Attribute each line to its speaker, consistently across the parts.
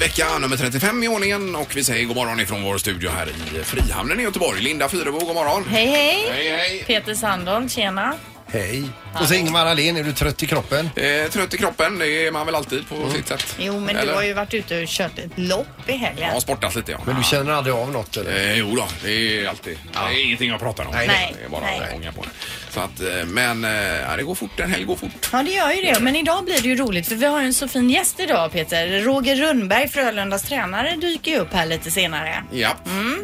Speaker 1: vecka nummer 35 i ordningen och vi säger god morgon ifrån vår studio här i Frihamnen i Göteborg. Linda Fyrebo, god morgon.
Speaker 2: Hej, hej!
Speaker 1: Hej, hej.
Speaker 2: Peter Sandholm, tjena.
Speaker 3: Hej. Och så Ingemar Ahlén, är du trött i kroppen? Mm.
Speaker 1: Eh, trött i kroppen, det är man väl alltid på sitt sätt.
Speaker 2: Jo, men du
Speaker 1: Eller?
Speaker 2: har ju varit ute och kört ett lopp i helgen.
Speaker 1: Ja, sportat lite ja.
Speaker 3: Men du känner aldrig av något eller?
Speaker 1: Eh, jo då, det är alltid. Det är ingenting jag pratar om.
Speaker 3: Nej,
Speaker 2: nej.
Speaker 1: Det är bara
Speaker 2: Nej.
Speaker 1: att ånga på det. Så att, eh, men eh, ja, det går fort, en helg går fort.
Speaker 2: Ja, det gör ju det. Men idag blir det ju roligt för vi har ju en så fin gäst idag, Peter. Roger Rönnberg, Frölundas tränare, dyker ju upp här lite senare.
Speaker 1: Ja,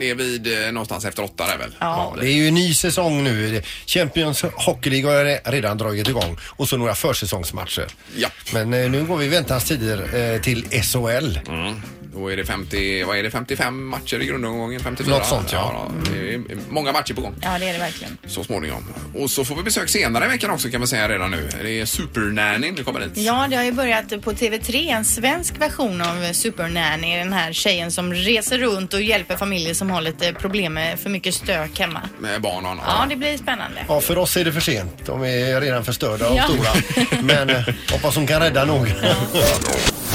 Speaker 1: det är vid eh, någonstans efter åtta där väl?
Speaker 2: Mm. Ja.
Speaker 3: Det är ju en ny säsong nu. Champions Hockey League har re- redan dragit igång och så några försäsongsmatcher.
Speaker 1: Ja.
Speaker 3: Men eh, nu går vi i väntans tider eh, till SHL.
Speaker 1: Mm. Då är det 50, vad är det, 55 matcher i grundomgången? 54?
Speaker 3: Något sånt, ja.
Speaker 1: det är många matcher på gång
Speaker 2: Ja, det är det verkligen.
Speaker 1: så småningom. Och så får vi besök senare i veckan också kan man säga redan nu. Det är supernannyn som kommer hit.
Speaker 2: Ja, det har ju börjat på TV3, en svensk version av Supernanny. Den här tjejen som reser runt och hjälper familjer som har lite problem med för mycket stök hemma.
Speaker 1: Med barn och annat.
Speaker 2: Ja, det blir spännande.
Speaker 3: Ja, för oss är det för sent. De är redan förstörda och
Speaker 2: Ja.
Speaker 3: stora. Men eh, hoppas hon kan rädda några.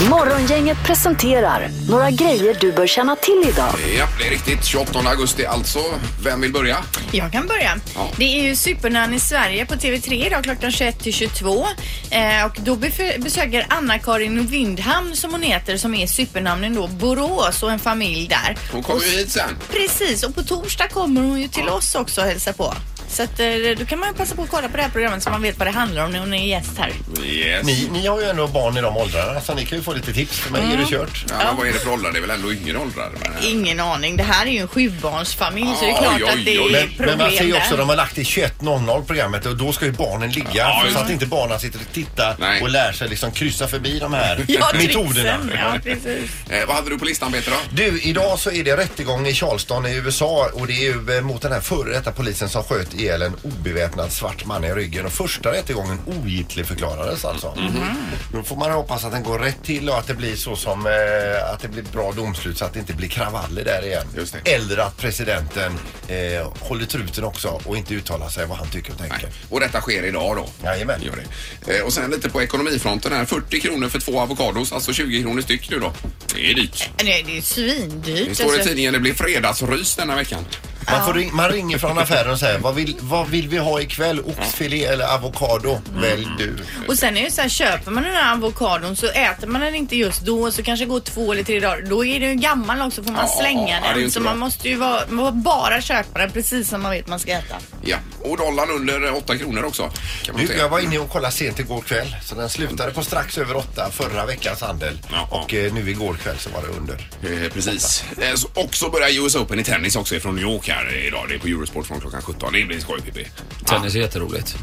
Speaker 4: Morgongänget presenterar några grejer du bör känna till idag.
Speaker 1: Ja, det är riktigt. 28 augusti alltså. Vem vill börja?
Speaker 2: Jag kan börja.
Speaker 1: Ja.
Speaker 2: Det är ju Supernanny Sverige på TV3 idag klockan 21 till 22. Eh, och då bef- besöker Anna-Karin Windhamn som hon heter som är supernamnen då Borås och en familj där.
Speaker 1: Hon kommer ju hit sen.
Speaker 2: Precis och på torsdag kommer hon ju till oss också och hälsar på. Så att, eh, då kan man ju passa på att kolla på det här programmet så man vet vad det handlar om när hon är gäst här.
Speaker 1: Yes.
Speaker 3: Ni, ni har ju ändå barn i de åldrarna så ni kan ju få lite tips. För mig är
Speaker 2: Mm.
Speaker 3: det kört.
Speaker 1: Ja, men vad är det för åldrar? Det är väl ändå yngre åldrar? Men, eh,
Speaker 2: Ingen aning. Det här är ju en sjubarnsfamilj så det är
Speaker 1: Oj,
Speaker 2: klart
Speaker 1: oj,
Speaker 2: att det är
Speaker 1: oj.
Speaker 3: Men,
Speaker 2: problem
Speaker 3: men man ser ju också
Speaker 2: där.
Speaker 3: de har lagt det 21.00 programmet och då ska ju barnen ligga
Speaker 1: Ja,
Speaker 3: för
Speaker 1: just
Speaker 3: så att
Speaker 1: det.
Speaker 3: inte barnen sitter och tittar
Speaker 1: Nej.
Speaker 3: och lär sig liksom kryssa förbi de här
Speaker 2: Ja,
Speaker 3: metoderna.
Speaker 2: tricksen. Ja, precis.
Speaker 1: Eh, vad hade du på listan Peter då?
Speaker 3: Du, idag så är det rättegång i Charleston i USA och det är ju eh, mot den här före detta polisen som sköt ihjäl en obeväpnad svart man i ryggen och första rättegången ogiltig förklarades alltså.
Speaker 1: Mhm.
Speaker 5: Mm-hmm.
Speaker 3: Då får man hoppas att den går rätt till och att det blir så som eh, att det blir bra domslut så att det inte blir kravaller där igen.
Speaker 1: Just det.
Speaker 3: Eller att presidenten eh, håller truten också och inte uttalar sig vad han tycker och tänker.
Speaker 1: Nej. Och detta sker idag då?
Speaker 3: Jajamän.
Speaker 1: Gör det. Eh, Och sen lite på ekonomifronten här. 40 kronor för två avokados, alltså 20 kronor styck nu då. Det är dyrt.
Speaker 2: Nej, det är svindyrt.
Speaker 1: Det står i
Speaker 2: alltså.
Speaker 1: tidningen det blir fredagsrys denna veckan.
Speaker 3: Man, får ring, man ringer från affären och säger vad vill, vad vill vi ha ikväll? Oxfilé eller avokado?
Speaker 1: Mm.
Speaker 3: Välj du.
Speaker 2: Och sen är det ju så här, köper man den här avokadon så äter man den inte just då så kanske det går två eller tre dagar. Då är den ju gammal också får man
Speaker 1: Ja, ja, ja,
Speaker 2: slänga
Speaker 1: det är ju
Speaker 2: den.
Speaker 1: inte
Speaker 2: Så
Speaker 1: bra.
Speaker 2: man måste ju vara, man får bara köpa den precis som man vet man ska äta.
Speaker 1: Ja. Och dollarn under 8 kronor också. Kan man
Speaker 3: Du,
Speaker 1: säga.
Speaker 3: jag var inne och kollade sent igår kväll så den slutade på strax över åtta förra veckans handel
Speaker 1: Ja.
Speaker 3: och eh, nu igår kväll så var det under.
Speaker 1: Eh, Precis. Eh, så- Och så börjar US Open i tennis också från New York här idag. Det är på Eurosport från klockan 17. Det blir skoj Pippi.
Speaker 6: Tennis är jätteroligt.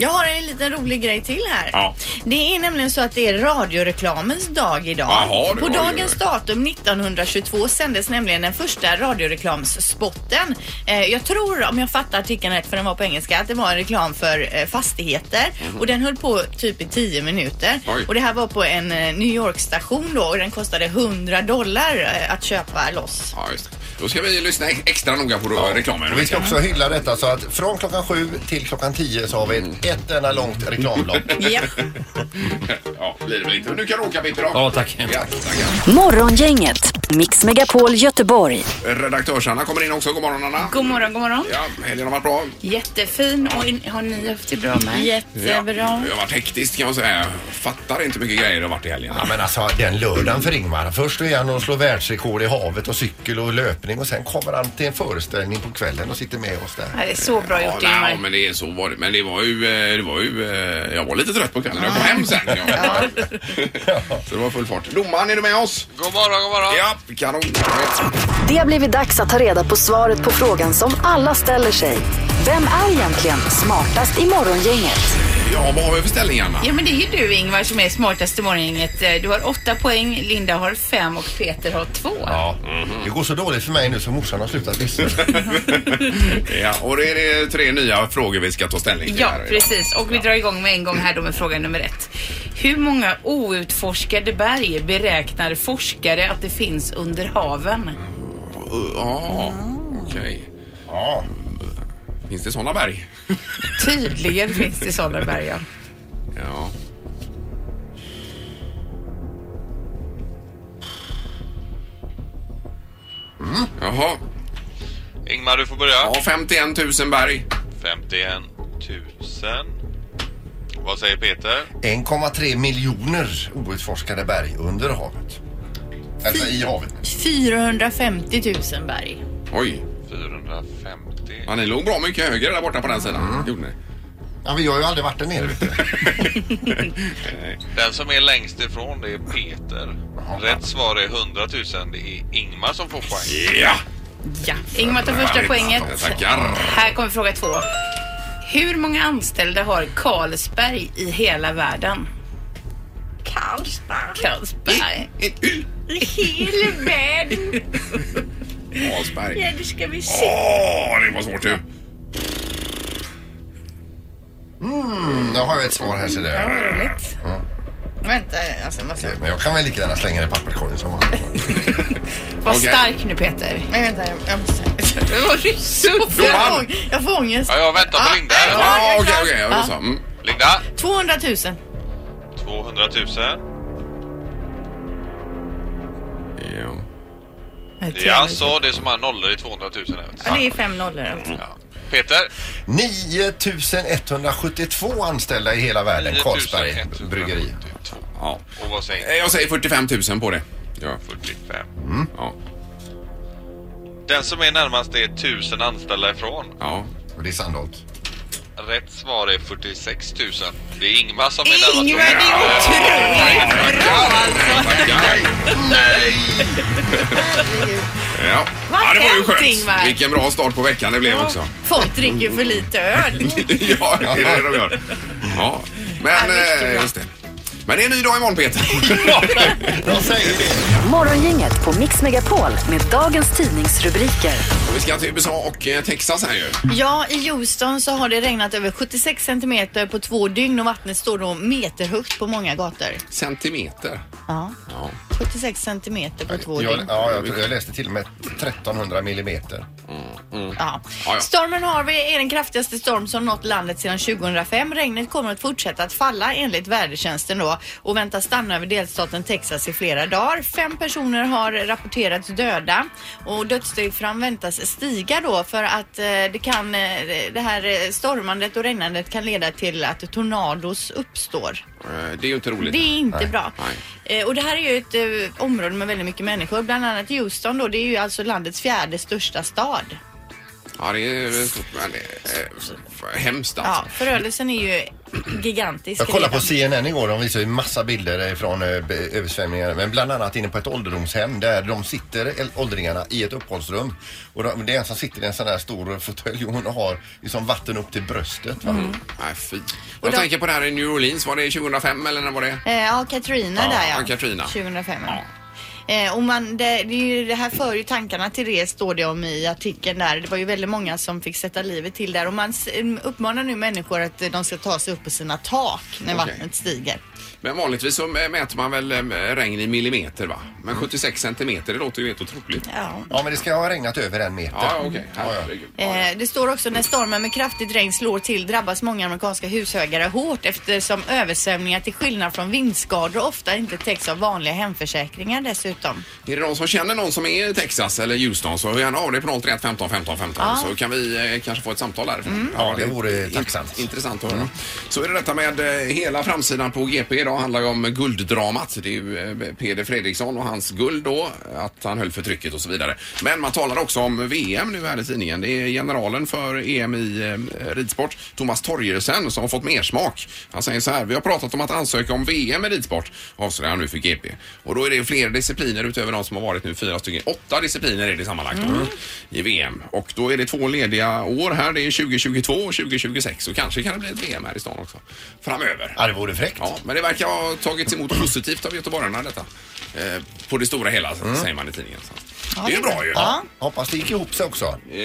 Speaker 2: Jag har en liten rolig grej till här.
Speaker 1: Ja.
Speaker 2: Det är nämligen så att det är radioreklamens dag idag.
Speaker 1: Jaha, det
Speaker 2: På
Speaker 1: var det
Speaker 2: dagens
Speaker 1: ju.
Speaker 2: datum 1922 sändes nämligen den första radioreklamsspotten. Eh, jag tror, om jag fattar artikeln rätt, för den var på engelska, att det var en reklam för eh, fastigheter. Och den höll på typ i 10 minuter.
Speaker 1: Mhm. Oj.
Speaker 2: Och det här var på en eh, New York-station då och den kostade 100 dollar eh, att köpa loss.
Speaker 1: Ja, just det. Då ska vi lyssna ex- extra noga på eh, reklamen.
Speaker 3: Och vi ska också hylla detta så att från klockan sju till klockan tio så har vi
Speaker 1: Mm.
Speaker 3: ett, ett enda långt reklamblock.
Speaker 2: Japp.
Speaker 1: ja, blir det väl inte. Men du kan åka Pippi då.
Speaker 6: Ja, tack.
Speaker 1: Ja, tackar.
Speaker 4: Morgongänget, Mix Megapol Göteborg.
Speaker 1: Redaktörs-Anna kommer in också. God morgon Anna.
Speaker 7: God morgon, god morgon.
Speaker 1: Ja, helgen har varit bra.
Speaker 7: Jättefin och in, har ni haft det bra med?
Speaker 2: Jättebra.
Speaker 1: Jag har varit hektisk kan jag säga. Fattar inte mycket grejer det har varit i helgen.
Speaker 3: Ja, men alltså den lördagen för Ingmar. Först är han och slår världsrekord i havet och cykel och löpning och sen kommer han till en föreställning på kvällen och sitter med oss där.
Speaker 7: Ja, det är så bra
Speaker 1: Ja,
Speaker 7: gjort
Speaker 1: nej,
Speaker 7: Ingmar.
Speaker 1: men det är så var det. Men det var ju, eh, det var ju, eh, jag var lite trött på kvällen. Jag kom hem sen. Ja. Så det var full fart. Domaren, är du med oss?
Speaker 8: God morgon, god morgon.
Speaker 1: Ja, kanon.
Speaker 4: Det har blivit dags att ta reda på svaret på frågan som alla ställer sig. Vem är egentligen smartast i morgongänget?
Speaker 1: Ja, vad har vi för ställning, Anna?
Speaker 7: Ja men det är ju du Ingvar som är smartast i morgongänget. Eh, Du har åtta poäng, Linda har fem och Peter har två.
Speaker 3: Ja.
Speaker 1: Mhm.
Speaker 3: Det går så dåligt för mig nu så morsan har slutat lyssna.
Speaker 1: Ja, och det är det tre nya frågor vi ska ta ställning till.
Speaker 7: Ja,
Speaker 1: här idag.
Speaker 7: precis. Och vi drar igång med en gång här då med fråga nummer ett. Hur många outforskade berg beräknar forskare att det finns under haven?
Speaker 1: Uh, Ja, okej.
Speaker 3: Ja.
Speaker 1: Finns det sådana berg?
Speaker 7: Tydligen finns det sådana berg, ja.
Speaker 1: Ja. Jaha.
Speaker 6: Ingmar, du får börja.
Speaker 1: Ja, 51 000 berg.
Speaker 6: 51 000. Vad säger Peter?
Speaker 3: 1,3 miljoner outforskade berg under havet. Alltså i havet.
Speaker 2: 450 000 berg.
Speaker 1: Oj.
Speaker 6: 450.
Speaker 1: Ja, ni låg bra mycket högre där borta på den sidan. Gjorde ni?
Speaker 3: Ja, men jag har ju aldrig varit där nere. Vet du.
Speaker 6: Den som är längst ifrån det är Peter. Rätt svar är 100 000. Det är Ingmar som får poäng.
Speaker 1: Ja!
Speaker 7: Ja. Ingmar tar första
Speaker 1: Härligt.
Speaker 7: poänget.
Speaker 1: Tackar.
Speaker 7: Här kommer fråga två. Hur många anställda har Carlsberg i hela världen? Carlsberg? Carlsberg.
Speaker 2: Helvete!
Speaker 1: Asberg.
Speaker 2: Nu ska vi se.
Speaker 1: Åh, det var svårt ju.
Speaker 3: Mm, då har jag ett svar här ser du.
Speaker 2: Vänta, alltså måste jag...
Speaker 3: Men jag kan väl lika gärna slänga det i papperskorgen som vanligt.
Speaker 7: Var
Speaker 1: Okej.
Speaker 7: stark nu Peter.
Speaker 2: Nej, vänta, jag- jag måste...
Speaker 7: Det var ju så
Speaker 2: Jag
Speaker 1: vann.
Speaker 2: får, ång- jag får ångest.
Speaker 6: Ja, jag väntar på Linda.
Speaker 2: ja,
Speaker 6: Ja,
Speaker 1: Ja,
Speaker 2: jag är
Speaker 1: okej,
Speaker 2: klar.
Speaker 1: okej. Ja, det är så.
Speaker 2: Ja.
Speaker 1: Mm.
Speaker 2: 200 000.
Speaker 6: 200 000.
Speaker 1: Ja.
Speaker 6: Ja, så det är som har nollor i 200 000. här.
Speaker 2: Ja, det är fem nollor.
Speaker 7: Mm.
Speaker 6: Ja. Peter,
Speaker 3: 9172 anställda i hela världen. Carlsberg
Speaker 6: 9172.
Speaker 3: bryggeri.
Speaker 1: ja.
Speaker 6: Och vad säger
Speaker 1: Eh, Jag säger 45 000 på det. Ja.
Speaker 6: 45.
Speaker 1: Ja.
Speaker 6: Den som är närmast är 1000 anställda ifrån.
Speaker 1: ja.
Speaker 3: Och det är Sandholt.
Speaker 6: Rätt svar är 46 000. Det är Ingmar som är närmast.
Speaker 7: Ingmar, det är otroligt bra alltså.
Speaker 1: Tackar.
Speaker 3: Nej!
Speaker 1: Ja.
Speaker 7: Vad
Speaker 1: ja, det var ju
Speaker 7: hänt,
Speaker 1: skönt.
Speaker 7: Ingmar?
Speaker 1: Vilken bra start på veckan det blev också.
Speaker 2: Folk dricker ju för lite öl.
Speaker 1: ja, det är det de gör. Ja. Men, eh, just det. Men det är en ny dag imorgon Peter.
Speaker 3: Jag säger det.
Speaker 4: Morgongänget på Mix Megapol med dagens tidningsrubriker.
Speaker 1: Vi ska till USA och eh, Texas här ju.
Speaker 2: Ja, i Houston så har det regnat över 76 centimeter på två dygn och vattnet står då meterhögt på många gator.
Speaker 1: Centimeter.
Speaker 2: Ja,
Speaker 1: Ja.
Speaker 2: 76 centimeter på två
Speaker 3: Jag,
Speaker 2: dygn.
Speaker 3: ja, jag, tror- jag läste till och med 1300 millimeter.
Speaker 1: Mm,
Speaker 2: Ja.
Speaker 1: Ja, ja.
Speaker 2: Stormen Harvey är den kraftigaste storm som nått landet sedan 2005. Regnet kommer att fortsätta att falla enligt vädertjänsten då och väntas stanna över delstaten Texas i flera dagar. Fem personer har rapporterats döda och dödsstyrkan väntas stiga då för att eh, det kan, eh, det här eh, stormandet och regnandet kan leda till att tornados uppstår.
Speaker 1: Eh, Det är ju inte roligt.
Speaker 2: Det är inte bra.
Speaker 1: Nej.
Speaker 2: Eh, och det här är ju ett eh, område med väldigt mycket människor, bland annat Houston då. Det är ju alltså landets fjärde största stad.
Speaker 1: Ja, det är väl stort, men det är eh, hemskt
Speaker 2: Ja,
Speaker 1: alltså.
Speaker 2: förödelsen är ju gigantisk.
Speaker 3: Jag kollade på
Speaker 2: redan.
Speaker 3: CNN igår. De visade ju massa bilder från översvämningar. Men bland annat inne på ett ålderdomshem där de sitter, äl- åldringarna, i ett uppehållsrum. Och de, det är en som sitter i en sån här stor fåtölj och hon har liksom vatten upp till bröstet. Va?
Speaker 1: Nej, fy. Jag
Speaker 2: då-
Speaker 1: tänker på det här i New Orleans. Var det 2005 eller när var det?
Speaker 2: Eh, ja, Katrina
Speaker 1: Ja,
Speaker 2: där ja.
Speaker 1: ja, Katrina.
Speaker 2: 2005 ja. Eh, och man, det, det, är ju, det här för ju tankarna till det står det om i artikeln där. Det var ju väldigt många som fick sätta livet till där och man s- em, uppmanar nu människor att eh, de ska ta sig upp på sina tak när
Speaker 1: Okej.
Speaker 2: vattnet stiger.
Speaker 1: Men vanligtvis så eh, mäter man väl eh, regn i millimeter va? Men 76 centimeter, det låter ju helt otroligt.
Speaker 2: Ja.
Speaker 3: Ja, men det ska ha regnat över en meter.
Speaker 1: Ja, okej.
Speaker 3: Ja, ja.
Speaker 1: Herregud.
Speaker 2: Eh, Det står också när stormen med kraftigt regn slår till drabbas många amerikanska husägare hårt eftersom översvämningar till skillnad från vindskador ofta inte täcks av vanliga hemförsäkringar dessutom.
Speaker 1: Är det någon som känner någon som är i Texas eller Houston så hör gärna av dig på 031 15 15 15 så kan vi eh, kanske få ett samtal där.
Speaker 2: Mm.
Speaker 3: Ja, det vore tacksamt.
Speaker 1: Intressant att höra. Så är det detta med eh, hela framsidan på GP idag handlar ju om gulddramat. Det är ju eh, Peder Fredriksson och hans guld då, att han höll för trycket och så vidare. Men man talar också om VM nu här i tidningen. Det är generalen för EM i eh, ridsport, Thomas Torgersen, som har fått mer smak. Han säger så här, vi har pratat om att ansöka om VM i ridsport, avslöjar han nu för GP. Och då är det fler discipliner utöver de som har varit nu, fyra stycken. Åtta discipliner är det sammanlagt då, i VM. Och då är det två lediga år här, det är 2022 och 2026 och kanske kan det bli ett VM här i stan också framöver.
Speaker 3: Ja, det vore fräckt.
Speaker 1: Ja, men det verkar ha tagits emot positivt av göteborgarna detta. Eh, på det stora hela,
Speaker 3: Mm.
Speaker 1: säger man i tidningen. Så. det är ju bra ju.
Speaker 2: Ja.
Speaker 3: Hoppas det gick ihop sig också.
Speaker 1: Eh,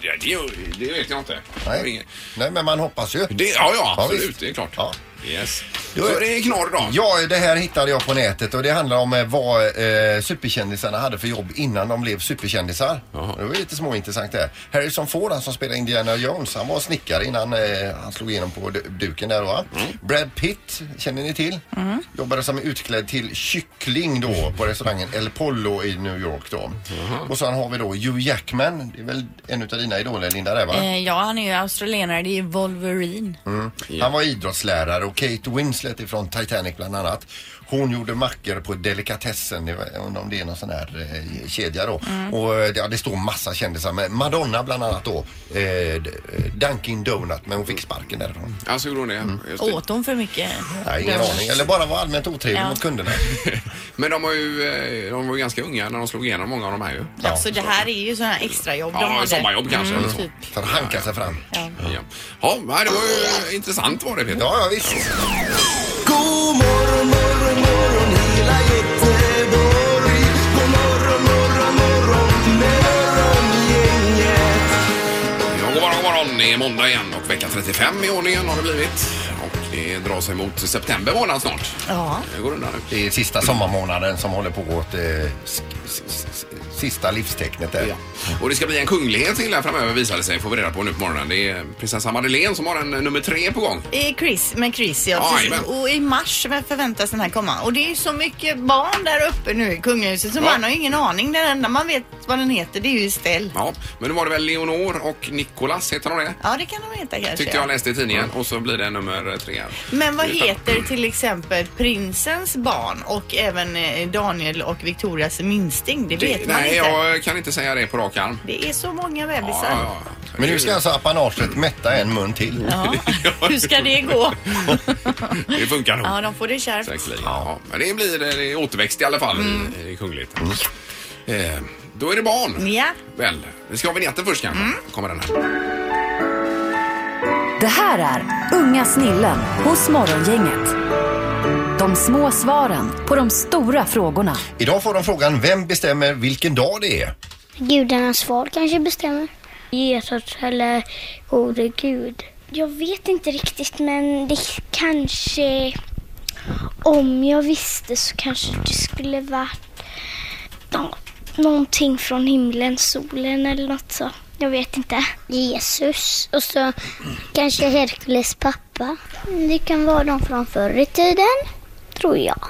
Speaker 1: ja, det, det vet jag inte.
Speaker 3: Nej. Nej, men man hoppas ju.
Speaker 1: Det, ja, ja,
Speaker 3: Ja,
Speaker 1: absolut.
Speaker 3: visst.
Speaker 1: det är klart.
Speaker 3: Ja.
Speaker 1: Yes. Så det är knorr idag.
Speaker 3: Ja, det här hittade jag på nätet och det handlar om eh, vad eh, superkändisarna hade för jobb innan de blev superkändisar.
Speaker 1: Jaha.
Speaker 3: Det var lite småintressant där. Harrison Ford, han som spelade Indiana Jones, han var snickare innan eh, han slog igenom på du- duken där va.
Speaker 1: Mm.
Speaker 3: Brad Pitt, känner ni till? Jobbade som utklädd till kyckling då på restaurangen El Pollo i New York då. Och sen har vi då Hugh Jackman, det är väl en utav dina idoler Linda där va?
Speaker 2: Eh, ja, han är ju australienare. Det är Wolverine.
Speaker 1: Mm.
Speaker 3: Han var idrottslärare och Kate Winslet ifrån Titanic bland annat. Hon gjorde mackor på delikatessen, det var- jag undrar om det är någon sån här eh, kedja då.
Speaker 1: Mm.
Speaker 3: Och eh, ja, det står massa kändisar med. Madonna bland annat då. Eh, d- eh, Dunkin Donut, men hon fick sparken därifrån. Mm.
Speaker 1: Alltså gjorde hon det? Just det.
Speaker 2: Åt hon för mycket?
Speaker 3: Nej, ingen
Speaker 2: Donut.
Speaker 3: aning. Eller bara var allmänt otrevlig
Speaker 2: Ja.
Speaker 3: mot kunderna.
Speaker 1: Men de var ju eh, de var ju ganska unga när de slog igenom, många av de här ju.
Speaker 3: Ja,
Speaker 2: alltså det här är ju sådana här extrajobb de
Speaker 1: Ja,
Speaker 2: hade.
Speaker 1: sommarjobb kanske. eller så.
Speaker 2: typ.
Speaker 3: För att hanka sig fram. Ja,
Speaker 1: Ja. Ja, men det var ju intressant var det Peter.
Speaker 3: ja visst.
Speaker 8: God morgon, morgon, morgon hela Göteborg. God morgon, morgon, morgon morgongänget.
Speaker 1: Ja, god morgon, god morgon. Det är måndag igen och vecka 35 i ordningen har det blivit. Och det drar sig mot september månad snart.
Speaker 2: Ja.
Speaker 1: Det går undan nu.
Speaker 3: Det är sista sommarmånaden som håller på åt eh, s- s- s- sista livstecknet där.
Speaker 1: Ja. Och det ska bli en kunglighet till här framöver visar det sig, får vi reda på nu på morgonen. Det är prinsessa Madeleine som har en eh, nummer tre på gång.
Speaker 2: I Chris, med Chris ja.
Speaker 1: Ja,
Speaker 2: precis.
Speaker 1: jajamän.
Speaker 2: och i mars förväntas den här komma. Och det är ju så mycket barn där uppe nu i kungahuset så
Speaker 1: Ja.
Speaker 2: man har ju ingen aning. Den enda man vet vad den heter det är ju Estelle.
Speaker 1: Ja, men nu var det väl Leonor och Nicolas, heter de det?
Speaker 2: Ja det kan de heta kanske.
Speaker 1: Tyckte jag läste i tidningen och så blir det nummer tre. här.
Speaker 2: Men vad heter till exempel prinsens barn och även eh, Daniel och Victorias minsting? Det vet man
Speaker 1: Nej,
Speaker 2: inte.
Speaker 1: jag kan inte säga det på rak arm.
Speaker 2: Det är så många
Speaker 1: Ja,
Speaker 2: bebisar.
Speaker 1: ja, ja.
Speaker 3: Men nu ska alltså apanaget mätta en mun till.
Speaker 2: Ja. Hur ska det gå?
Speaker 1: Det funkar nog.
Speaker 2: ja, de får det kärvt.
Speaker 1: Säkerligen. Ja. Men det blir det är återväxt i alla fall
Speaker 2: Mm.
Speaker 1: i, i Kungligt. Eh, då är det barn.
Speaker 2: Ja. Mm.
Speaker 1: Väl, vi ska ha vignetten först kanske. Kommer den här.
Speaker 4: Det här är Unga snillen hos Morgongänget. De små svaren på de stora frågorna.
Speaker 3: Idag får de frågan vem bestämmer vilken dag det är?
Speaker 9: Gudarnas far kanske bestämmer. Jesus eller gode gud. Jag vet inte riktigt men det kanske... Om jag visste så kanske det skulle varit nå- någonting från himlen, solen eller något så. Jag vet inte. Jesus och så kanske Herkules pappa. Det kan vara de från förr i tiden, tror jag.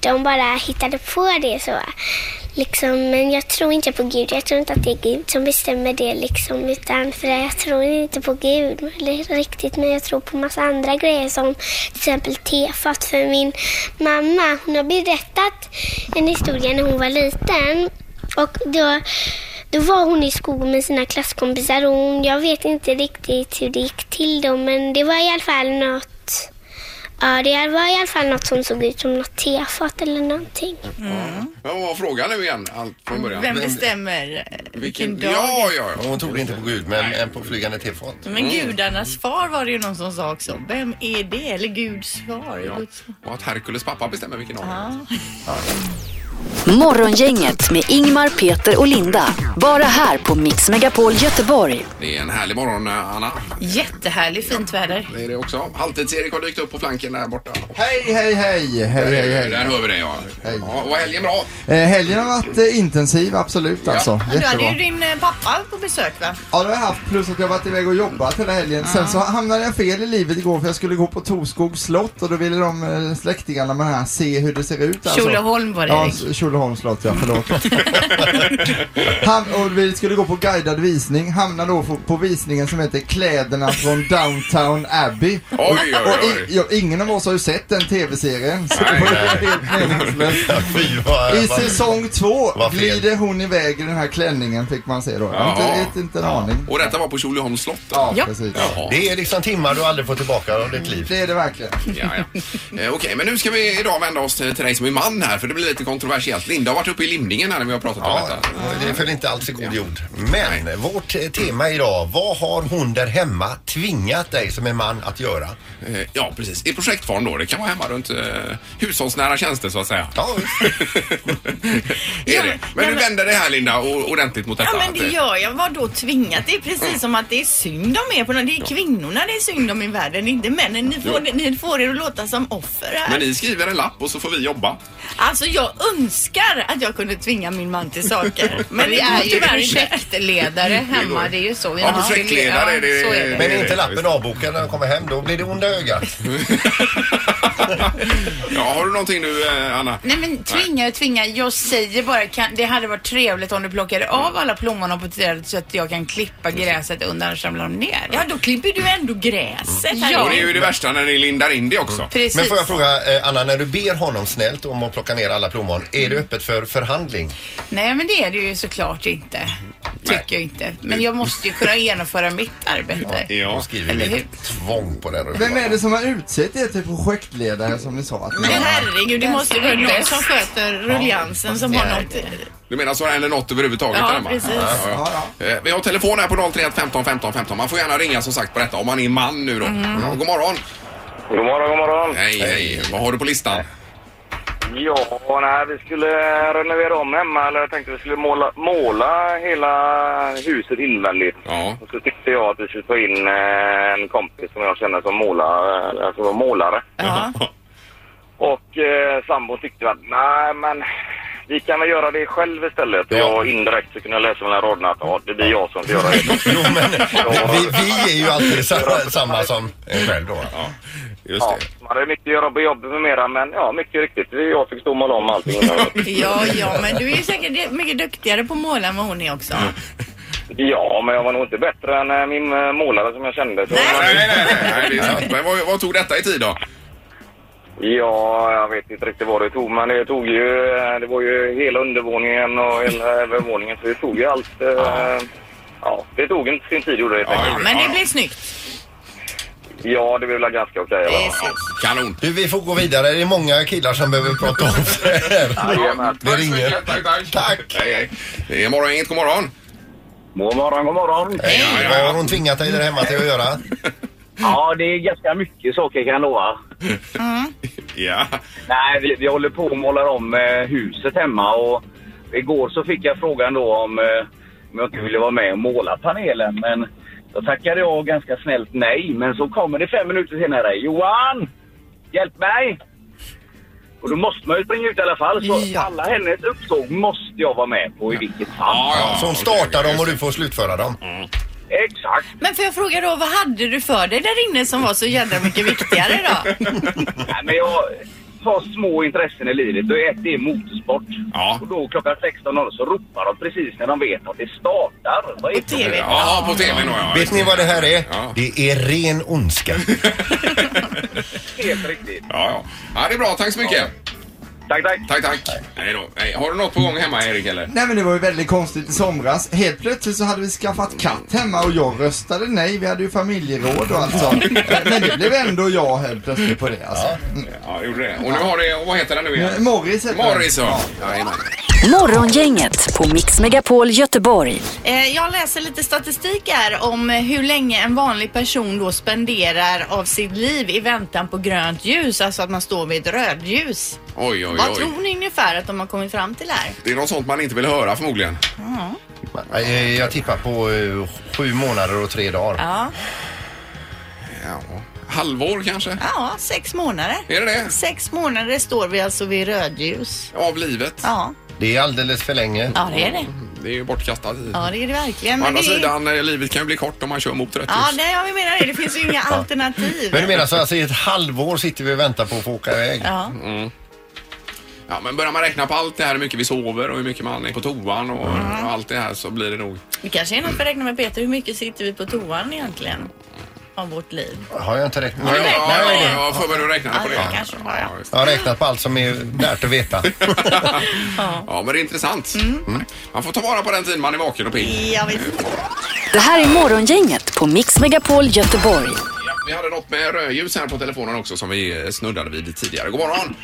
Speaker 9: De bara hittade på det så. Liksom, men jag tror inte på Gud. Jag tror inte att det är Gud som bestämmer det. Liksom, utan för jag tror inte på Gud eller riktigt, men jag tror på massa andra grejer som till exempel tefat. För min mamma, hon har berättat en historia när hon var liten. Och då, då var hon i skogen med sina klasskompisar och hon, jag vet inte riktigt hur det gick till då, men det var i alla fall något Ja, det var i alla fall något som såg ut som något tefat eller någonting.
Speaker 2: Mm.
Speaker 1: Ja, Vad var frågan nu igen? Allt från början.
Speaker 2: Vem bestämmer eh, vilken dag?
Speaker 1: Ja, ja, Mm. ja.
Speaker 3: Hon trodde inte på Gud, men en på flygande tefat.
Speaker 2: Men gudarnas far var det ju någon som sa också. Vem är det? Eller Guds far? Guds far.
Speaker 1: Och att Herkules pappa bestämmer vilken dag det är.
Speaker 4: Morgongänget med Ingmar, Peter och Linda. Bara här på Mix Megapol Göteborg.
Speaker 1: Det är en härlig morgon, eh, Anna.
Speaker 7: Jättehärligt fint väder.
Speaker 1: Det är det också. Halvtids-Erik har dykt upp på flanken där borta.
Speaker 10: Hej, hej, hej! hej, hej, hej.
Speaker 1: Där hör vi det, ja. ja och helgen bra.
Speaker 10: Eh, helgen har varit eh, intensiv, absolut alltså.
Speaker 2: Du hade
Speaker 10: Jättebra.
Speaker 2: ju din eh, pappa på besök va?
Speaker 10: Ja, det har jag haft, plus att jag har varit iväg och jobbat hela helgen. Sen så hamnade jag fel i livet igår för jag skulle gå på Torskogs slott och då ville de eh, släktingarna med den här se hur det ser ut. Alltså.
Speaker 7: Tjolöholm var det,
Speaker 10: Ja,
Speaker 7: Erik.
Speaker 10: Tjolöholms slott, ja, förlåt. Ham- och vi skulle gå på guidad visning, hamnade då på, på visningen som heter Kläderna från Downtown Abbey.
Speaker 1: Oj, oj,
Speaker 10: Och i,
Speaker 1: oj.
Speaker 10: ja, ingen av oss har ju sett den tv-serien, så
Speaker 1: Nej,
Speaker 10: det var ju helt meningslöst.
Speaker 3: Fy, vad-
Speaker 10: I
Speaker 3: vad-
Speaker 10: säsong två
Speaker 3: vad fel.
Speaker 10: glider hon iväg i den här klänningen fick man se då. Jag har
Speaker 1: Jaha.
Speaker 10: inte, inte, inte en aning.
Speaker 1: Och detta var på Tjolöholms slott. då?
Speaker 10: Ja,
Speaker 7: Ja.
Speaker 10: precis.
Speaker 1: Jaha.
Speaker 3: Det är liksom timmar du aldrig får tillbaka av ditt liv.
Speaker 10: Det är det verkligen.
Speaker 1: Ja, ja. Eh, Okej, men nu ska vi idag vända oss till till dig som är man här för det blir lite kontroversiellt. Linda har varit uppe i limningen här när vi har pratat om
Speaker 3: Ja,
Speaker 1: detta.
Speaker 3: det är väl inte alls i god jord. Men vårt eh, tema idag, vad har hon där hemma tvingat dig som en man att göra?
Speaker 1: Eh, Ja, precis. I projektform då. Det kan vara hemma runt eh, hushållsnära tjänster så att säga.
Speaker 3: Ja,
Speaker 1: är
Speaker 2: Ja,
Speaker 1: det. Men
Speaker 2: nej,
Speaker 1: du
Speaker 2: men-
Speaker 1: vänder det här Linda och, ordentligt mot detta.
Speaker 2: Ja men
Speaker 1: att,
Speaker 2: det
Speaker 1: eh,
Speaker 2: gör jag. Vadå tvingat? Det är precis som att det är synd om er på något. Det är kvinnorna det är synd om i världen, inte männen. Ni får, ni får er att låta som offer här.
Speaker 1: men ni skriver en lapp och så får vi jobba.
Speaker 2: Alltså jag önskar att jag kunde tvinga min man till saker. Men det
Speaker 7: Vi
Speaker 2: är ju tyvärr inte.
Speaker 7: projektledare hemma, det är ju så. Vi
Speaker 1: Ja,
Speaker 7: måste-
Speaker 1: projektledare är det-
Speaker 7: så är det.
Speaker 3: Men är inte lappen avbokad när jag kommer hem, då blir det onda ögat.
Speaker 1: Ja, har du någonting nu eh, Anna?
Speaker 7: Nej men tvinga och tvinga. Jag säger bara kan, det hade varit trävligt om du plockade av alla plommon och på trädet så att jag kan klippa gräset undan och samla dem ner.
Speaker 2: Ja då klipper du ändå gräset. här.
Speaker 7: Ja.
Speaker 1: Och det är ju det värsta när ni lindar in det också.
Speaker 7: Precis.
Speaker 3: Men får jag fråga eh, Anna, när du ber honom snällt om att plocka ner alla plommon, är det öppet för förhandling?
Speaker 7: Nej men det är det ju såklart inte. Tycker jag inte. Men jag måste ju kunna genomföra mitt arbete.
Speaker 1: Ja.
Speaker 3: Då skriver
Speaker 7: Eller
Speaker 3: vi
Speaker 7: hur?
Speaker 3: tvång på den.
Speaker 10: Vem är det som har utsett er till projektledare som ni sa? Att ni
Speaker 2: Men
Speaker 10: var?
Speaker 2: herregud, det måste ju vara någon som sköter rulliansen som har
Speaker 3: Ja.
Speaker 2: något.
Speaker 1: Du menar så det händer något överhuvudtaget?
Speaker 2: Ja,
Speaker 1: där hemma?
Speaker 2: precis.
Speaker 1: Ja, ja. Eh, Vi har telefon här på 031 15 15 15. Man får gärna ringa som sagt på detta om man är man nu då.
Speaker 2: Mhm.
Speaker 1: Ja, god morgon!
Speaker 11: God morgon, god morgon.
Speaker 1: Hej, hej! Vad har du på listan?
Speaker 11: Ja, nej, vi skulle renovera om hemma, eller jag tänkte vi skulle måla, måla hela huset invändigt.
Speaker 1: Ja.
Speaker 11: Och så tyckte jag att vi skulle ta in eh, en kompis som jag känner som målare, alltså som målare.
Speaker 2: Ja.
Speaker 11: Och eh, sambon tyckte att nej, men vi kan väl göra det själv istället. Ja. Jag indirekt så kunde jag läsa mellan raderna att ja, det blir jag som får göra det.
Speaker 3: Jo, men
Speaker 11: Ja.
Speaker 3: vi, vi är ju alltid samma, samma som en själv då.
Speaker 1: ja, just
Speaker 11: Ja,
Speaker 1: det.
Speaker 11: man hade mycket att göra på jobbet med mera, men ja, mycket riktigt. Jag fick stå och måla om allting.
Speaker 2: Ja, ja, men du är ju säkert mycket duktigare på att måla än vad hon är också.
Speaker 11: Ja, men jag var nog inte bättre än eh, min eh, målare som jag kände. Så
Speaker 1: Nej, nej, nej, nej, nej, det är sant. Men vad, vad tog detta i tid då?
Speaker 11: Ja, jag vet inte riktigt vad det tog, men det tog ju... eh, Det var ju hela undervåningen och hela övervåningen, så det tog ju allt. eh, Ja, det tog inte sin tid gjorde det. helt enkelt.
Speaker 2: Ja, men det blir snyggt.
Speaker 11: Ja, det blev väl ganska okej. va?
Speaker 2: Precis.
Speaker 1: Kanon!
Speaker 3: Du, vi får gå vidare. Det är många killar som behöver prata om det här.
Speaker 11: Jajamän.
Speaker 3: Det ringer.
Speaker 1: Tack, tack! Hej, hej! Det är morgon, inget god morgon!
Speaker 11: God morgon, god morgon.
Speaker 1: Ja,
Speaker 3: Hej,
Speaker 1: ja,
Speaker 3: vad
Speaker 1: ja.
Speaker 3: har hon tvingat dig där hemma till att göra?
Speaker 11: Ja, det är ganska mycket saker kan jag lova.
Speaker 1: Ja,
Speaker 11: Nej, vi, vi håller på och målar om eh, huset hemma och igår så fick jag frågan då om, eh, om jag inte ville vara med och måla panelen. Men då tackade jag ganska snällt nej. Men så kommer det fem minuter senare. Johan! Hjälp mig! Och då måste man ju springa ut i alla fall. Så
Speaker 2: Ja.
Speaker 11: alla hennes uppsåg måste jag vara med på i vilket fall.
Speaker 1: ja, ja. Mm.
Speaker 3: Så hon
Speaker 1: okej,
Speaker 3: startar
Speaker 1: okej.
Speaker 3: dem och du får slutföra dem.
Speaker 11: Exakt!
Speaker 2: Men får jag fråga då, vad hade du för dig där inne som var så jädra mycket viktigare då?
Speaker 11: Nej, men jag har små intressen i livet och ett är motorsport.
Speaker 1: Ja.
Speaker 11: Och då klockan 16.00 så ropar de precis när de vet att det startar. Vad är
Speaker 2: På TV.
Speaker 1: Ja, på tvn då ja.
Speaker 3: Vet ni vad det här är?
Speaker 1: Ja.
Speaker 3: Det är ren ondska.
Speaker 11: det helt riktigt?
Speaker 1: Ja, ja. ja, det är bra. Tack så mycket.
Speaker 11: Tack, tack.
Speaker 1: Tack, tack. Hej då. Hej. Har du något på gång hemma, Erik, eller?
Speaker 10: Nej men det var ju väldigt konstigt i somras. Helt plötsligt så hade vi skaffat katt hemma och jag röstade nej. Vi hade ju familjeråd och allt sånt. Men det blev ändå jag helt plötsligt på det alltså.
Speaker 1: Ja, jag gjorde det. Och nu har det... och Vad heter den nu
Speaker 10: Mm.
Speaker 1: igen?
Speaker 10: Morris heter den.
Speaker 1: Morris, ja. Jajamän.
Speaker 4: Morgongänget på Mix Megapol Göteborg.
Speaker 2: Eh, Jag läser lite statistik här om eh, hur länge en vanlig person då spenderar av sitt liv i väntan på grönt ljus, alltså att man står vid ett rödljus.
Speaker 1: Oj, oj,
Speaker 2: Vad
Speaker 1: oj.
Speaker 2: tror ni ungefär att de har kommit fram till här?
Speaker 1: Det är något sånt man inte vill höra förmodligen.
Speaker 3: Eh, Jag tippar på eh, sju månader och tre dagar.
Speaker 2: Ja,
Speaker 1: Ja. Halvår kanske?
Speaker 2: ja sex månader.
Speaker 1: Är det det?
Speaker 2: Sex månader står vi alltså vid rödljus.
Speaker 1: Av livet?
Speaker 2: Ja,
Speaker 3: Det är alldeles för länge.
Speaker 2: ja det är det.
Speaker 1: Det är ju bortkastad tid.
Speaker 2: Ja, det är det verkligen.
Speaker 1: Å andra
Speaker 2: det är...
Speaker 1: sidan, eh, livet kan ju bli kort om man kör mot rött
Speaker 2: Ja,
Speaker 1: ljus.
Speaker 2: nej, jag menar det. Det finns ju inga alternativ.
Speaker 3: Men du menar så alltså i ett halvår sitter vi och väntar på att få åka iväg?
Speaker 2: Ja.
Speaker 1: Mm. Ja, men börjar man räkna på allt det här, hur mycket vi sover och hur mycket man är på toan och, och allt det här så blir det nog...
Speaker 2: Det kanske är något för att räkna med Peter. Hur mycket sitter vi på toan egentligen? Av vårt liv.
Speaker 3: Har jag inte räknat?
Speaker 1: Ja, ja,
Speaker 2: räknar
Speaker 1: ja,
Speaker 2: med
Speaker 1: ja,
Speaker 2: det.
Speaker 1: jag får börja räkna
Speaker 2: Ja,
Speaker 1: på det.
Speaker 2: det kanske var, ja.
Speaker 1: just det.
Speaker 3: Jag har räknat på allt som är värt att veta.
Speaker 1: Ja, men det är intressant. Mm. Man får ta vara på den tiden man är vaken och pigg.
Speaker 2: Jag vet.
Speaker 4: Det här är Morgongänget på Mix Megapol Göteborg.
Speaker 1: Ja, vi hade något med rödljus här på telefonen också som vi eh, snuddade vid tidigare. God morgon!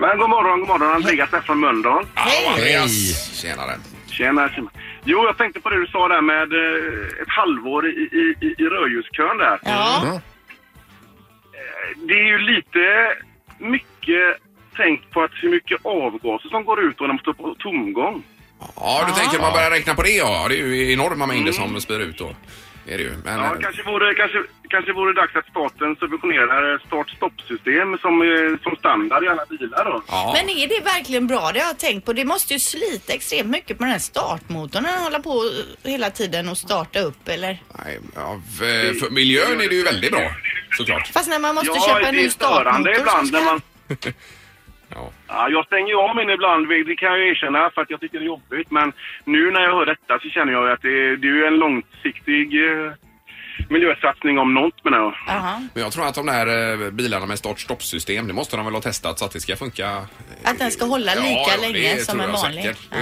Speaker 5: Men god morgon, god morgon. Andreas här från Mölndal.
Speaker 1: Hej! Andreas, tjenare.
Speaker 5: Tjena, tjena. Jo, jag tänkte på det du sa där med eh, ett halvår i, i, i- i rödljuskön där.
Speaker 2: Ja.
Speaker 5: Eh, Det är ju lite mycket tänkt på att hur mycket avgaser som går ut och de står på tomgång.
Speaker 1: Ja, Mm. du tänker man börjar räkna på det ja. Det är ju enorma mängder som spyr ut då. Är det ju. Men,
Speaker 5: Ja,
Speaker 1: eh,
Speaker 5: kanske vore, kanske, kanske vore dags att staten subventionerar start-stopp-system som, eh, som standard i alla bilar då.
Speaker 2: Men är det verkligen bra? Det har jag tänkt på. Det måste ju slita extremt mycket på den här startmotorn när den håller på hela tiden och starta upp eller?
Speaker 1: nej, ja, för, eh, för miljön är det ju väldigt bra såklart.
Speaker 2: Fast när man måste
Speaker 5: ja,
Speaker 2: köpa en
Speaker 5: det
Speaker 2: ny
Speaker 5: är
Speaker 2: startmotor
Speaker 5: störande
Speaker 2: så
Speaker 5: ibland
Speaker 2: ska-
Speaker 5: när man...
Speaker 1: ja.
Speaker 5: jag stänger ju av min ibland, det kan jag erkänna, för att jag tycker det är jobbigt. Men nu när jag hör detta så känner jag ju att det, det är ju en långsiktig eh, miljösatsning om något menar jag.
Speaker 1: Men jag tror att de där eh, bilarna med start-stopp-system, det måste de väl ha testat så att det ska funka.
Speaker 2: Att den ska hålla lika
Speaker 1: ja, det
Speaker 2: länge
Speaker 1: tror
Speaker 2: som en
Speaker 1: jag
Speaker 2: vanlig.
Speaker 1: säkert.
Speaker 2: Ja.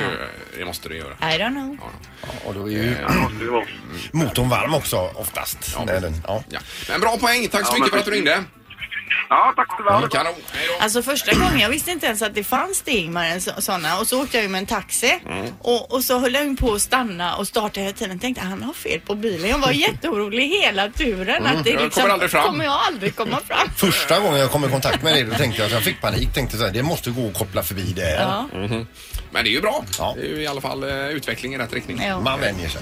Speaker 1: Det måste det göra.
Speaker 2: I don't know.
Speaker 3: Ja, då är ju motorn varm också oftast. Ja, den, ja.
Speaker 1: Men bra poäng, tack så
Speaker 3: Ja,
Speaker 1: mycket
Speaker 3: men
Speaker 1: för att du ringde.
Speaker 5: Ja, tack själva.
Speaker 1: Kanon.
Speaker 2: Alltså första gången, jag visste inte ens att det fanns det Ingmar, en så, såna. Och så åkte jag ju med en taxi Mm. och, och så höll den på att stanna och startade hela tiden. Tänkte han har fel på bilen. Jag var jätteorolig hela turen.
Speaker 3: Mm.
Speaker 2: Att det liksom
Speaker 3: Jag kommer aldrig fram.
Speaker 2: Kommer jag aldrig komma fram.
Speaker 3: Första gången jag kom i kontakt med det då tänkte jag att jag fick panik. Tänkte så här, det måste gå att koppla förbi det.
Speaker 2: Ja.
Speaker 1: Mhm. Men det är ju bra. Det är ju i alla fall eh, utveckling i rätt riktning.
Speaker 3: Man vänjer sig.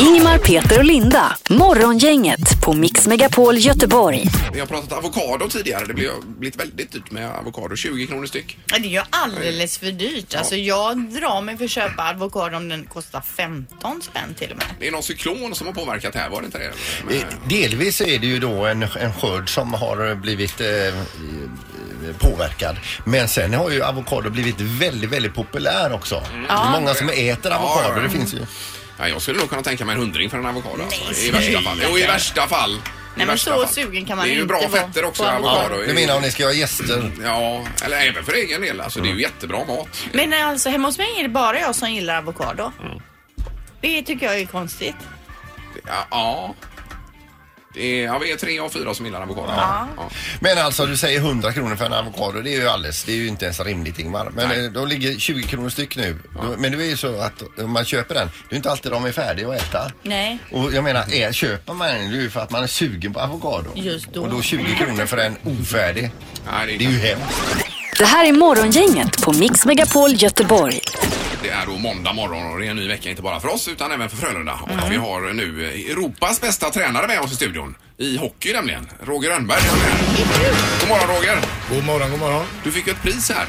Speaker 4: Ingemar, Peter och Linda. Morgongänget på Mix Megapol Göteborg.
Speaker 1: Vi har pratat avokado tidigare. Det blir- blivit väldigt dyrt med avokado. 20 kronor styck.
Speaker 2: Ja, Det är ju alldeles för dyrt. Alltså jag drar mig för att köpa avokado om den kostar 15 spänn till och med.
Speaker 1: Det är någon cyklon som har påverkat här, var det inte det?
Speaker 3: Eh, Delvis är det ju då en, en skörd som har blivit eh, eh, påverkad. Men sen har ju avokado blivit väldigt, väldigt populär också. Det
Speaker 1: Mm. Ja.
Speaker 3: är många som äter avokado. Det finns ju.
Speaker 1: Ja, jag skulle nog kunna tänka mig en hundring för en avokado. Alltså. I
Speaker 3: Nej,
Speaker 1: värsta
Speaker 3: nej.
Speaker 1: fall. Jo, i värsta fall. I
Speaker 2: Nej men
Speaker 1: värsta
Speaker 2: så
Speaker 1: fall.
Speaker 2: sugen kan man
Speaker 1: Det är ju
Speaker 2: inte
Speaker 1: bra
Speaker 2: vara
Speaker 1: fetter också,
Speaker 2: på
Speaker 1: avokado.
Speaker 3: Ja, du menar om ni ska ha gäster?
Speaker 1: Ja, eller även för egen del. Alltså, det är ju jättebra mat.
Speaker 2: Men alltså hemma hos mig är det bara jag som gillar avokado.
Speaker 1: Mm.
Speaker 2: Det tycker jag är konstigt.
Speaker 1: Ja. ja. Det är, ja, vi är tre av fyra som gillar avokado.
Speaker 3: Ja. Men alltså du säger 100 kronor för en avokado. Det är ju alldeles, det är ju inte ens rimligt Ingmar. Men eh, de ligger 20 kronor styck nu. Då- Men det är ju så att om man köper den, det är inte alltid de är färdiga att äta.
Speaker 2: Nej.
Speaker 3: Och jag menar, är, köper man den det är ju för att man är sugen på avokado.
Speaker 2: Just då.
Speaker 3: Och då 20 kronor för en ofärdig.
Speaker 1: det, är
Speaker 3: ju hemskt.
Speaker 4: Det här är Morgongänget på Mix Megapol Göteborg.
Speaker 1: Det är då måndag morgon och det är en ny vecka inte bara för oss utan även för Frölunda. Och
Speaker 2: Mm.
Speaker 1: vi har nu Europas bästa tränare med oss i studion. I hockey nämligen. Roger Rönnberg. är med. God morgon Roger!
Speaker 12: God morgon, god morgon.
Speaker 1: Du fick ju ett pris här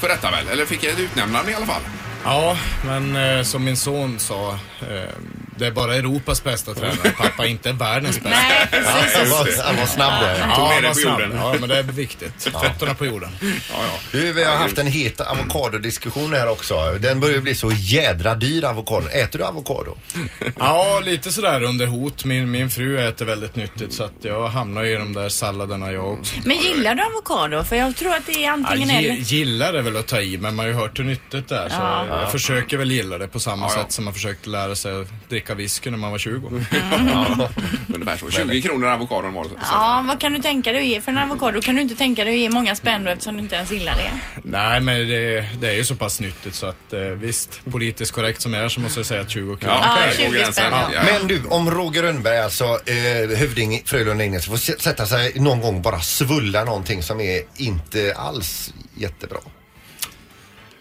Speaker 1: för detta väl? Eller fick ett utnämnande i alla fall?
Speaker 12: Ja, men eh, som min son sa, eh, det är bara Europas bästa tränare, pappa, inte världens bästa.
Speaker 8: Nej, precis.
Speaker 12: Ja,
Speaker 3: Han var-
Speaker 12: just det.
Speaker 3: han var snabb där.
Speaker 12: Ja,
Speaker 3: Tog ner
Speaker 12: han
Speaker 3: det
Speaker 12: var
Speaker 3: på
Speaker 12: snabb.
Speaker 3: jorden.
Speaker 12: Ja, men det är viktigt. Fötterna på jorden.
Speaker 3: Du, vi har haft en het avokadodiskussion här också. Den börjar bli så jädra dyr avokado. Äter du avokado?
Speaker 12: Ja, lite sådär under hot. Min, min fru äter väldigt nyttigt så att jag hamnar ju i de där salladerna jag också.
Speaker 2: Men gillar du avokado? För jag tror att det är
Speaker 12: Ja,
Speaker 2: antingen
Speaker 12: gi-
Speaker 2: eller.
Speaker 12: gillar det väl att ta i, men man har ju hört hur nyttigt det är. Så
Speaker 2: Ja.
Speaker 12: jag
Speaker 2: Ja.
Speaker 12: försöker väl gilla det på samma
Speaker 1: Ja, ja.
Speaker 12: sätt som man försökte lära sig att dricka whisky när man var 20.
Speaker 1: Ja, ungefär så. 20 kronor avokadon var det.
Speaker 2: Ja, vad kan du tänka dig att ge för en avokado? Kan du inte tänka dig att ge många spänn då eftersom du inte ens gillar det?
Speaker 12: Nej, men det, det är ju så pass nyttigt så att eh, visst, politiskt korrekt som jag är så måste jag säga att 20 kronor.
Speaker 2: Ja, Ja, 20 spänn, ja.
Speaker 12: Ja.
Speaker 3: Men du, om Roger Rönnberg, alltså eh, hövding i Frölunda Ingels, får s- sätta sig någon gång och bara svulla någonting som är inte alls jättebra.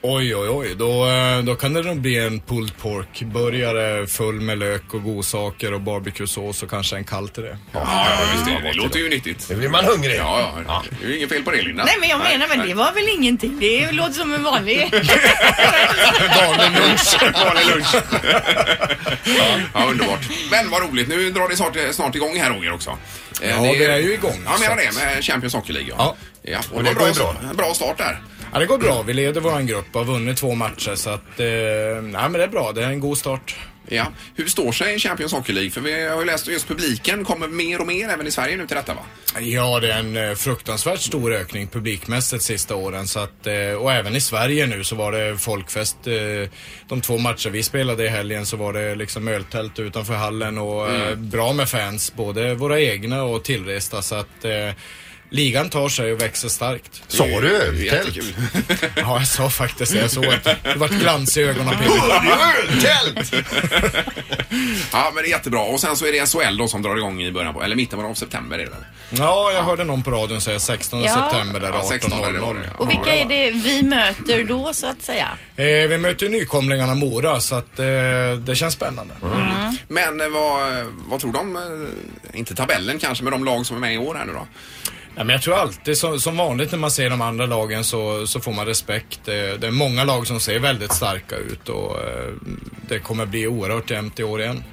Speaker 12: Oj, oj, oj. Då, eh, då kan det nog bli en pulled pork-burgare full med lök och godsaker och barbecuesås och kanske en kall till det.
Speaker 1: Ja, ja visst det. Det låter ju nyttigt.
Speaker 3: Nu blir man hungrig.
Speaker 1: Ja, ja, ja. Det är ju inget fel på det Linda.
Speaker 2: Nej, men jag menar, men
Speaker 1: nej.
Speaker 2: det var väl ingenting. Det låter som en vanlig...
Speaker 1: Vanlig lunch. Vanlig lunch. ja, ja, underbart. Men vad roligt. Nu drar det snart, snart igång här Roger också. Eh,
Speaker 12: Ja, vi är ju igång,
Speaker 1: Ja, jag menar
Speaker 12: så att-
Speaker 1: det med Champions Hockey League. Ja. ja och
Speaker 12: Och
Speaker 1: det,
Speaker 12: det
Speaker 1: var
Speaker 12: går ju
Speaker 1: bra, bra. bra start där.
Speaker 12: Ja, det går bra. Vi leder vår grupp och har vunnit två matcher så att, eh, nej men det är bra. Det är en god start.
Speaker 1: Ja. Hur står sig Champions Hockey League? För vi har ju läst att just publiken kommer mer och mer även i Sverige nu till detta va?
Speaker 12: Ja, det är en eh, fruktansvärt stor ökning publikmässigt sista åren. Så att, eh, och även i Sverige nu så var det folkfest. eh, De två matcher vi spelade i helgen så var det liksom öltält utanför hallen och eh,
Speaker 13: Mm.
Speaker 12: bra med fans, både våra egna och tillresta. Så att, eh, ligan tar sig och växer starkt.
Speaker 3: Sa du
Speaker 12: öltält? ja, jag sa faktiskt det. Jag såg att det vart glans i ögonen på
Speaker 3: Öltält!
Speaker 1: ja, men det är jättebra. Och sen så är det SHL då som drar igång i början på, eller mitten av september är det väl?
Speaker 12: Ja, jag hörde någon på radion säga 16
Speaker 2: Ja.
Speaker 12: september där
Speaker 1: Ja, 16 är det, var
Speaker 12: 18.00.
Speaker 1: det.
Speaker 2: Och vilka är det vi möter då så att säga?
Speaker 12: Eh, vi möter ju nykomlingarna Mora så att eh, det känns spännande.
Speaker 1: Men eh, vad, vad tror de? eh, Inte tabellen kanske, men de lag som är med i år här nu då?
Speaker 12: Ja, men jag tror alltid som, som vanligt när man ser de andra lagen så, så får man respekt. Eh, Det är många lag som ser väldigt starka ut och eh, det kommer bli oerhört jämnt i år igen.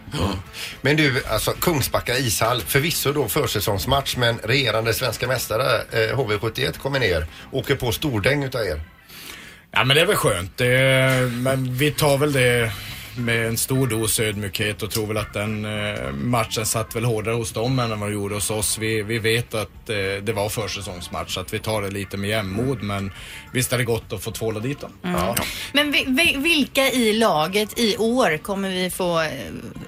Speaker 3: Men du, alltså Kungsbacka ishall, förvisso då försäsongsmatch men regerande svenska mästare eh, HV71 kommer ner, åker på stordäng utav er.
Speaker 12: Ja men det är väl skönt. Det, men vi tar väl det med en stor dos ödmjukhet och tror väl att den eh, matchen satt väl hårdare hos dem än vad den gjorde hos oss. Vi, vi vet att eh, det var försäsongsmatch så att vi tar det lite med jämnmod men visst är det gott att få tvåla dit dem. Ja.
Speaker 2: Men vi, vi, vilka i laget i år kommer vi få eh,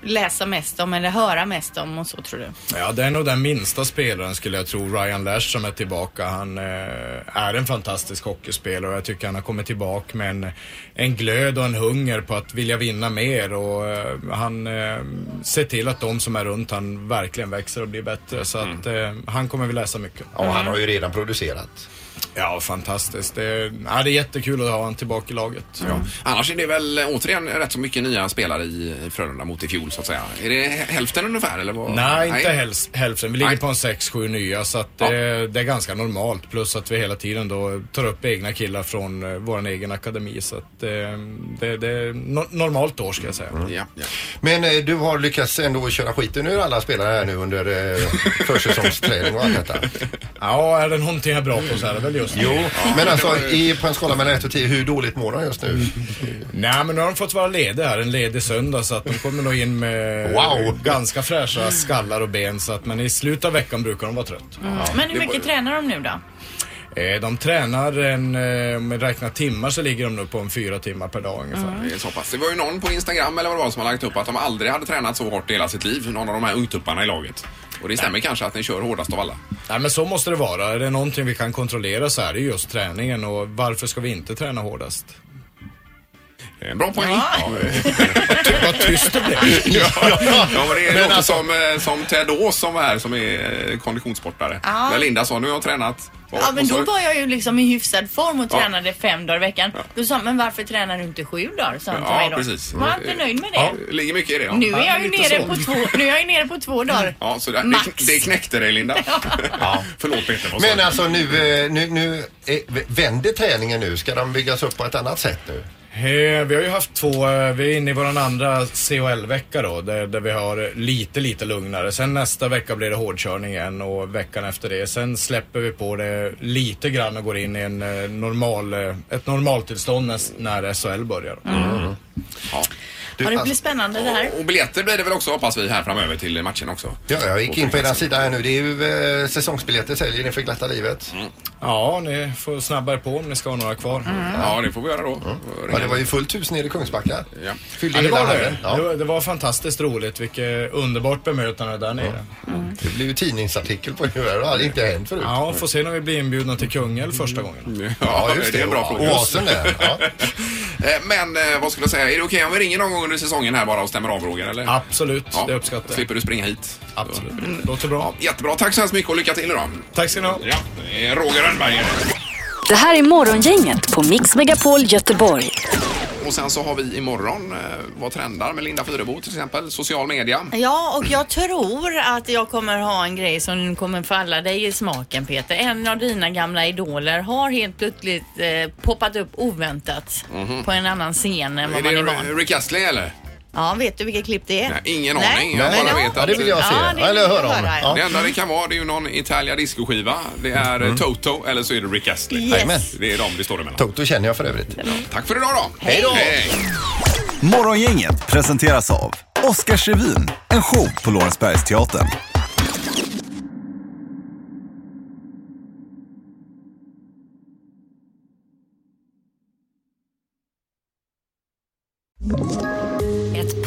Speaker 2: läsa mest om eller höra mest om och så tror du? Mm.
Speaker 12: Ja, det är nog den minsta spelaren skulle jag tro, Ryan Lash som är tillbaka. Han eh, är en fantastisk hockeyspelare och jag tycker han har kommit tillbaka med en, en glöd och en hunger på att vilja vinna mer och eh, han eh, ser till att de som är runt han verkligen växer och blir bättre. Så att eh, han kommer vi läsa mycket.
Speaker 3: Ja, han har ju redan producerat.
Speaker 12: Ja, fantastiskt. Det, ja, det är jättekul att ha honom tillbaka i laget.
Speaker 1: Ja. Annars är det väl eh, återigen rätt så mycket nya spelare i i Frölunda mot i fjol så att säga. Är det hälften ungefär eller? Vad?
Speaker 12: Nej, inte häls- hälften. Vi ligger på en 6-7 nya så att eh, det är ganska normalt. Plus att vi hela tiden då tar upp egna killar från eh, vår egen akademi. Så att eh, det, det är no- normalt år ska jag
Speaker 3: Mm.
Speaker 12: säga.
Speaker 3: Men eh, du har lyckats ändå köra skiten ur alla spelare här nu under eh, försäsongsträning och allt detta.
Speaker 12: Ja, är det någonting jag är bra på så är det väl just det.
Speaker 3: Jo, men alltså i, på en skala mellan 1 och 10, hur dåligt mår de just nu?
Speaker 12: Nej, men nu har de fått vara lediga här en ledig söndag så att de kommer nog in med
Speaker 3: Wow.
Speaker 12: ganska fräscha skallar och ben. Så att, men i slutet av veckan brukar de vara trött.
Speaker 2: Mm. Men hur mycket tränar de nu då?
Speaker 12: Eh, De tränar en, eh, om jag räknar timmar så ligger de nu på en fyra timmar per dag ungefär.
Speaker 1: Mm. Det är så pass. Det var ju någon på Instagram eller vad det var som har lagt upp att de aldrig hade tränat så hårt i hela sitt liv, någon av de här ungtupparna i laget. Och det stämmer kanske att ni kör hårdast av alla.
Speaker 12: Nej men så måste det vara. Är det någonting vi kan kontrollera så är det just träningen och varför ska vi inte träna hårdast?
Speaker 1: Bra poäng. Ja.
Speaker 12: Vad Typ tyst det blev.
Speaker 1: Ja, ja, men det
Speaker 12: Men
Speaker 1: låter
Speaker 12: alltså-
Speaker 1: som, eh, som Ted Ås som var här som är eh, konditionssportare.
Speaker 2: Ja.
Speaker 1: När Linda sa nu har jag tränat. Och-
Speaker 2: Ja men
Speaker 1: och så-
Speaker 2: då var jag ju liksom i hyfsad form och
Speaker 1: Ja.
Speaker 2: tränade fem dagar i veckan. Då sa han, men varför tränar du inte sju dagar? Sa han till
Speaker 1: Ja,
Speaker 2: mig då.
Speaker 1: precis.
Speaker 2: Var han inte nöjd med det?
Speaker 1: Ja, det ligger mycket i det. Ja.
Speaker 2: Nu är,
Speaker 1: Ja,
Speaker 2: jag ju
Speaker 1: lite
Speaker 2: nere
Speaker 1: så.
Speaker 2: på två, nu är jag ju nere på två dagar.
Speaker 1: Ja, så där,
Speaker 2: Max.
Speaker 1: det, det knäckte dig Linda. Förlåt Peter. vad sa
Speaker 3: Men
Speaker 1: du?
Speaker 3: alltså nu, eh, nu, nu eh, v- vänder träningen nu. Ska den byggas upp på ett annat sätt nu?
Speaker 12: Eh, Vi har ju haft två, eh, vi är inne i vår andra CHL-vecka då, där, där vi har eh, lite, lite lugnare. Sen nästa vecka blir det hårdkörning igen och veckan efter det. Sen släpper vi på det lite grann och går in i en eh, normal, eh, ett normaltillstånd när, när SHL börjar.
Speaker 3: Mm.
Speaker 12: Mm.
Speaker 1: Ja.
Speaker 2: Ja,
Speaker 3: alltså-
Speaker 2: det blir
Speaker 1: alltså-
Speaker 2: spännande det här.
Speaker 1: Och biljetter blir det väl också hoppas vi här framöver till matchen också.
Speaker 3: Ja, jag gick in på er sida här nu. Det är ju eh, säsongsbiljetter säljer ni för glatta livet.
Speaker 12: Ja, ni får snabba er på om ni ska ha några kvar.
Speaker 1: Ja, det får vi göra då.
Speaker 3: Mm. Ja, det var ju fullt hus nere i Kungsbacka.
Speaker 1: Ja.
Speaker 3: Fyllde
Speaker 12: Ja, det,
Speaker 3: hela
Speaker 12: var
Speaker 3: hallen.
Speaker 12: det.
Speaker 3: Ja.
Speaker 12: Det, var, det var fantastiskt roligt. Vilket underbart bemötande där nere.
Speaker 3: Det blev ju tidningsartikel på det här. Det hade inte hänt förut.
Speaker 12: Ja, får se när vi blir inbjudna till Kungälv första gången.
Speaker 3: Ja, just
Speaker 1: Det är en bra prognos.
Speaker 3: Oasen där. Ja.
Speaker 1: Eh, Men eh, vad skulle jag säga, är det okej om vi ringer någon gång under säsongen här bara och stämmer av Roger? Eller?
Speaker 12: Absolut, det uppskattar jag.
Speaker 1: Slipper du springa hit.
Speaker 12: Absolut. Låter bra.
Speaker 1: Jättebra, tack så hemskt mycket och lycka till idag.
Speaker 12: Tack ska ni ha.
Speaker 1: Ja, det är Roger Rönnberger.
Speaker 4: Det här är Morgongänget på Mix Megapol Göteborg.
Speaker 1: Och sen så har vi imorgon, eh, vad trendar med Linda Fyrebo till exempel, social media.
Speaker 2: Ja, och jag tror att jag kommer ha en grej som kommer falla dig i smaken Peter. En av dina gamla idoler har helt plötsligt eh, poppat upp oväntat
Speaker 1: Mhm.
Speaker 2: på en annan scen än
Speaker 1: Är
Speaker 2: vad man är van.
Speaker 1: det Rick Astley eller?
Speaker 2: Ja, vet du vilket klipp det är?
Speaker 1: Nej, ingen
Speaker 2: Nej.
Speaker 1: aning. Jag bara vet att...
Speaker 3: det vill jag se.
Speaker 2: Ja, det vill Eller höra jag om. höra, ja.
Speaker 1: Det enda det kan vara det är ju någon Italia discoskiva. Det är eh, Toto eller så är det Rick Astley.
Speaker 3: Yes. Jajamän.
Speaker 1: Det är de det står emellan.
Speaker 3: Toto känner jag för övrigt.
Speaker 1: Tack för idag då.
Speaker 3: Hej då.
Speaker 13: Morgongänget presenteras av Oscarsrevyn, en show på Lorensbergsteatern.
Speaker 14: Ett